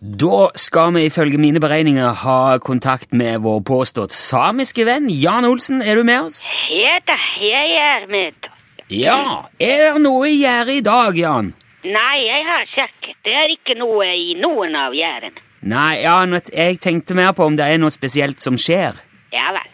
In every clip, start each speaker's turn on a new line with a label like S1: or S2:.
S1: Da skal vi ifølge mine beregninger ha kontakt med vår påstått samiske venn. Jan Olsen, er du med oss?
S2: Ja da, jeg er med.
S1: Ja. Er det noe i gjære i dag, Jan?
S2: Nei, jeg har sjekket. Det er ikke noe i noen av gjerdene.
S1: Nei, Jan, vet- jeg tenkte mer på om det er noe spesielt som skjer.
S2: Ja vel.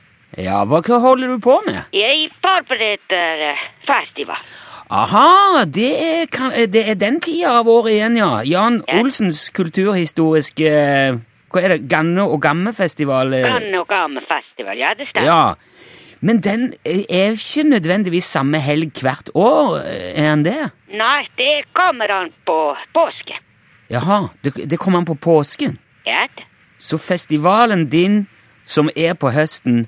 S1: Ja, hva hva holder du på med?
S2: Jeg forbereder eh, festival.
S1: Aha, det er, kan, eh, det er den tida av året igjen, ja. Jan Olsens kulturhistoriske eh, Hva er det? Ganne- og gammefestival? eh,
S2: Brann og gammefestival, ja det stemmer.
S1: Ja. Men den eh, er ikke nødvendigvis samme helg hvert år, eh, er den det?
S2: Nei, det kommer an på påske.
S1: Jaha, det, det kommer an på påsken.
S2: Ja da.
S1: Så festivalen din, som er på høsten,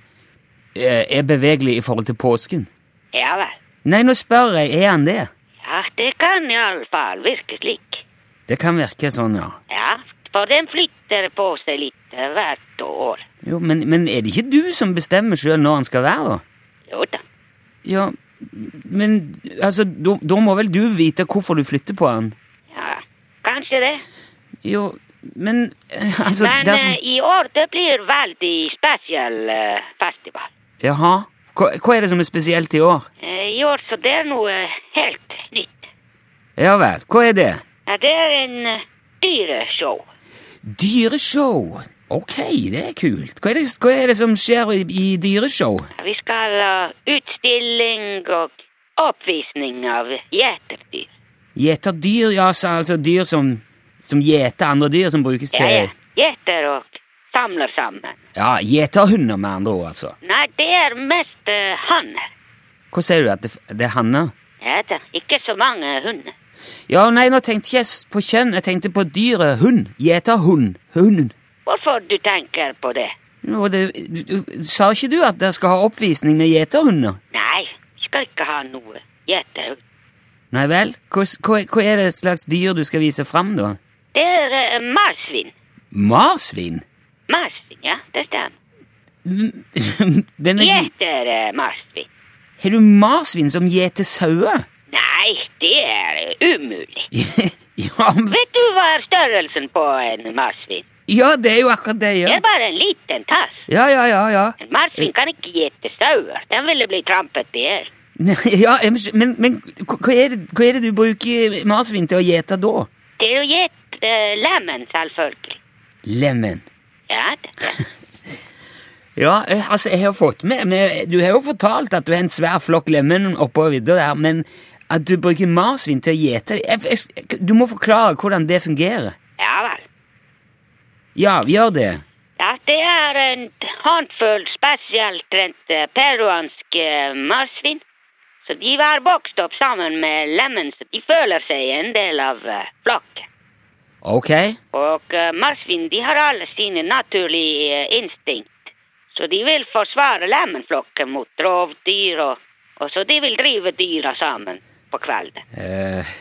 S1: eh, er bevegelig i forhold til påsken?
S2: Ja vel.
S1: Nei, nå spør jeg, er han det?
S2: Ja, det kan iallfall virke slik.
S1: Det kan virke sånn, ja.
S2: Ja, for den flytter på seg litt eh, hvert år.
S1: Jo, men, men er det ikke du som bestemmer sjøl når han skal være, da?
S2: Jo da.
S1: Ja, men altså, da da må vel du vite hvorfor du flytter på han?
S2: Ja, kanskje det.
S1: Jo, men eh, altså
S2: Men
S1: dersom-
S2: eh, i år det blir veldig spesiell eh, festival.
S1: Jaha. Hva, hva er det som er spesielt i år?
S2: Eh, I år så det er noe helt nytt.
S1: Ja vel, hva er det?
S2: Ja, det er en eh, dyreshow.
S1: Dyreshow. Ok, det er kult. Hva er det, hva er det som skjer i, i dyreshow?
S2: Vi skal ha utstilling og oppvisning av gjeterdyr.
S1: Gjeter dyr, ja, så altså dyr som, som gjeter andre dyr som brukes
S2: Ja,
S1: til
S2: ja. Gjeter og samler sammen.
S1: Ja, gjeterhunder, med andre ord, altså.
S2: Nei, det er mest eh, hanner.
S1: Hva sier du, at det, det er hanner?
S2: Ja da, ikke så mange hunder.
S1: Ja, nei, nå tenkte jeg s- på kjønn, jeg tenkte på dyret hund. Gjeterhund. Hund.
S2: Hvorfor du tenker på det?
S1: Jo, det, du, du, sa ikke du at dere skal ha oppvisning med gjeterhunder?
S2: Nei, skal ikke ha noe gjeterhund.
S1: Nei vel? Hva, s- hva, hva er det slags dyr du skal vise fram, da?
S2: Det er eh, marsvin.
S1: Marsvin?
S2: Marsvin, ja, det stemmer. Mm. eh,
S1: Den er,
S2: Gjetermarsvin.
S1: Har du marsvin som gjeter sauer?
S2: Nei, det er eh, umulig.
S1: ja, men-
S2: Vet du hva er størrelsen på en marsvin?
S1: ja, det er jo akkurat det,
S2: Det
S1: ja.
S2: er bare en liten tass.
S1: Ja, ja, ja, ja.
S2: En marsvin kan ikke gjete sauer. Den ville bli trampet i hjel.
S1: ja men, men hva, er det, hva er det du bruker marsvin til å gjete da?
S2: Det er jo gjett eh, lemen, selvfølgelig.
S1: Lemen.
S2: Ja, det, det.
S1: Ja, eh, altså, jeg har fått med, med Du har jo fortalt at du har en svær flokk lemen oppå vidda der, men at du bruker marsvin til å gjete jeg- jeg- Du må forklare hvordan det fungerer.
S2: ja vel.
S1: Ja, gjør det.
S2: Ja, det er en håndfull spesielt trent eh, peruansk eh, marsvin. Så de var vokst opp sammen med lemen, så de føler seg en del av eh, flokken.
S1: Ok.
S2: Og eh, marsvin, de har alle sine naturlige eh, instinkt. Så de vil forsvare lemenflokken mot rovdyr, og, og så de vil drive dyra sammen på kvelden.
S1: Eh,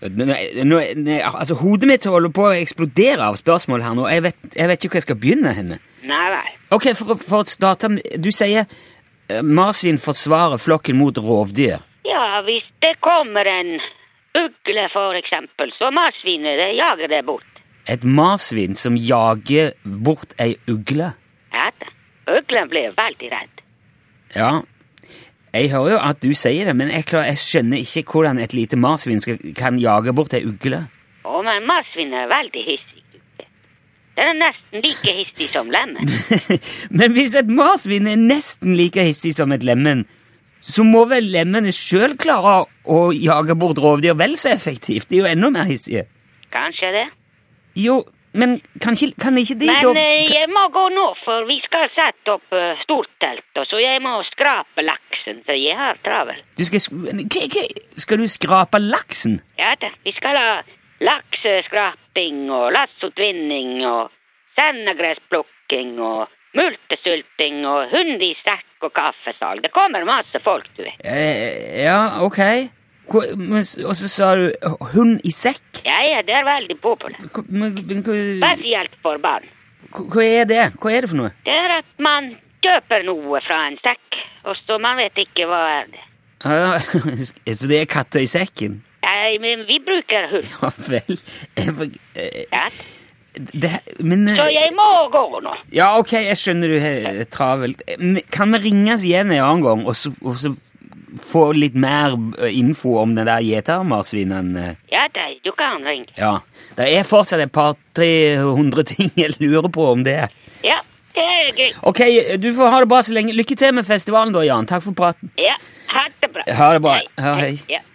S1: Nå, nå, nå, altså, hodet mitt holder på å eksplodere av spørsmål her nå. Jeg vet, jeg vet ikke hvor jeg skal begynne. henne.
S2: Nei vel.
S1: Ok, for, å- for å starte med- Du sier eh, marsvin forsvarer flokken mot rovdyr.
S2: Ja, hvis det kommer en ugle, for eksempel, så marsvinet det jager det bort.
S1: Et marsvin som jager bort ei ugle.
S2: Ja da. Uglen blir veldig redd.
S1: Ja, jeg hører jo at du sier det, men jeg, klarer, jeg skjønner ikke hvordan et lite marsvin skal, kan jage bort ei ugle.
S2: Å, men marsvin er veldig hissig. Den er nesten like hissig som lemmen.
S1: Men hvis et marsvin er nesten like hissig som et lemen, så må vel lemmene sjøl klare å jage bort rovdyr vel så effektivt? De er jo enda mer hissige.
S2: Kanskje det.
S1: Jo, men kan ikke, kan ikke de
S2: Men
S1: da
S2: eh, jeg må gå nå, for vi skal sette opp eh, stortelt, og så jeg må skrape laksen, for jeg har travel.
S1: Du skal, sk- Hva- hva- skal du skrape laksen?
S2: Ja da, vi skal ha lakseskraping og lassotvinning og sendegressplukking og multesulting og hund i sekk og kaffesal. Det kommer masse folk, du vet.
S1: Eh, ja, ok. Hva- men s- Og så sa du hund i sekk?
S2: Ja, ja, det er veldig populært.
S1: Hva- men- men Hva
S2: Spesielt for barn.
S1: hva- hva er det? Hva er det for noe?
S2: Det er at man kjøper noe fra en sekk, og så man vet ikke hva er det.
S1: Ah, så det er katter i sekken?
S2: Nei, men vi bruker hund.
S1: Ja vel. Jeg får- eh,
S2: Ja.
S1: Det, men eh,
S2: Så jeg må gå nå.
S1: Ja, ok, jeg skjønner du har travelt. Men Kan vi ringes igjen en annen gang, og så, og så få litt mer eh, info om den der gjetermarsvinen? eh?
S2: Ja, da, du kan ringe.
S1: Ja. Det er fortsatt et par-tre hundre ting jeg lurer på om det.
S2: Ja, det er greit.
S1: Ok, du får ha det bra så lenge. Lykke til med festivalen da, Jan. Takk for praten.
S2: Ja, ha det bra.
S1: Ha det bra. Ja, hei.
S2: Ja.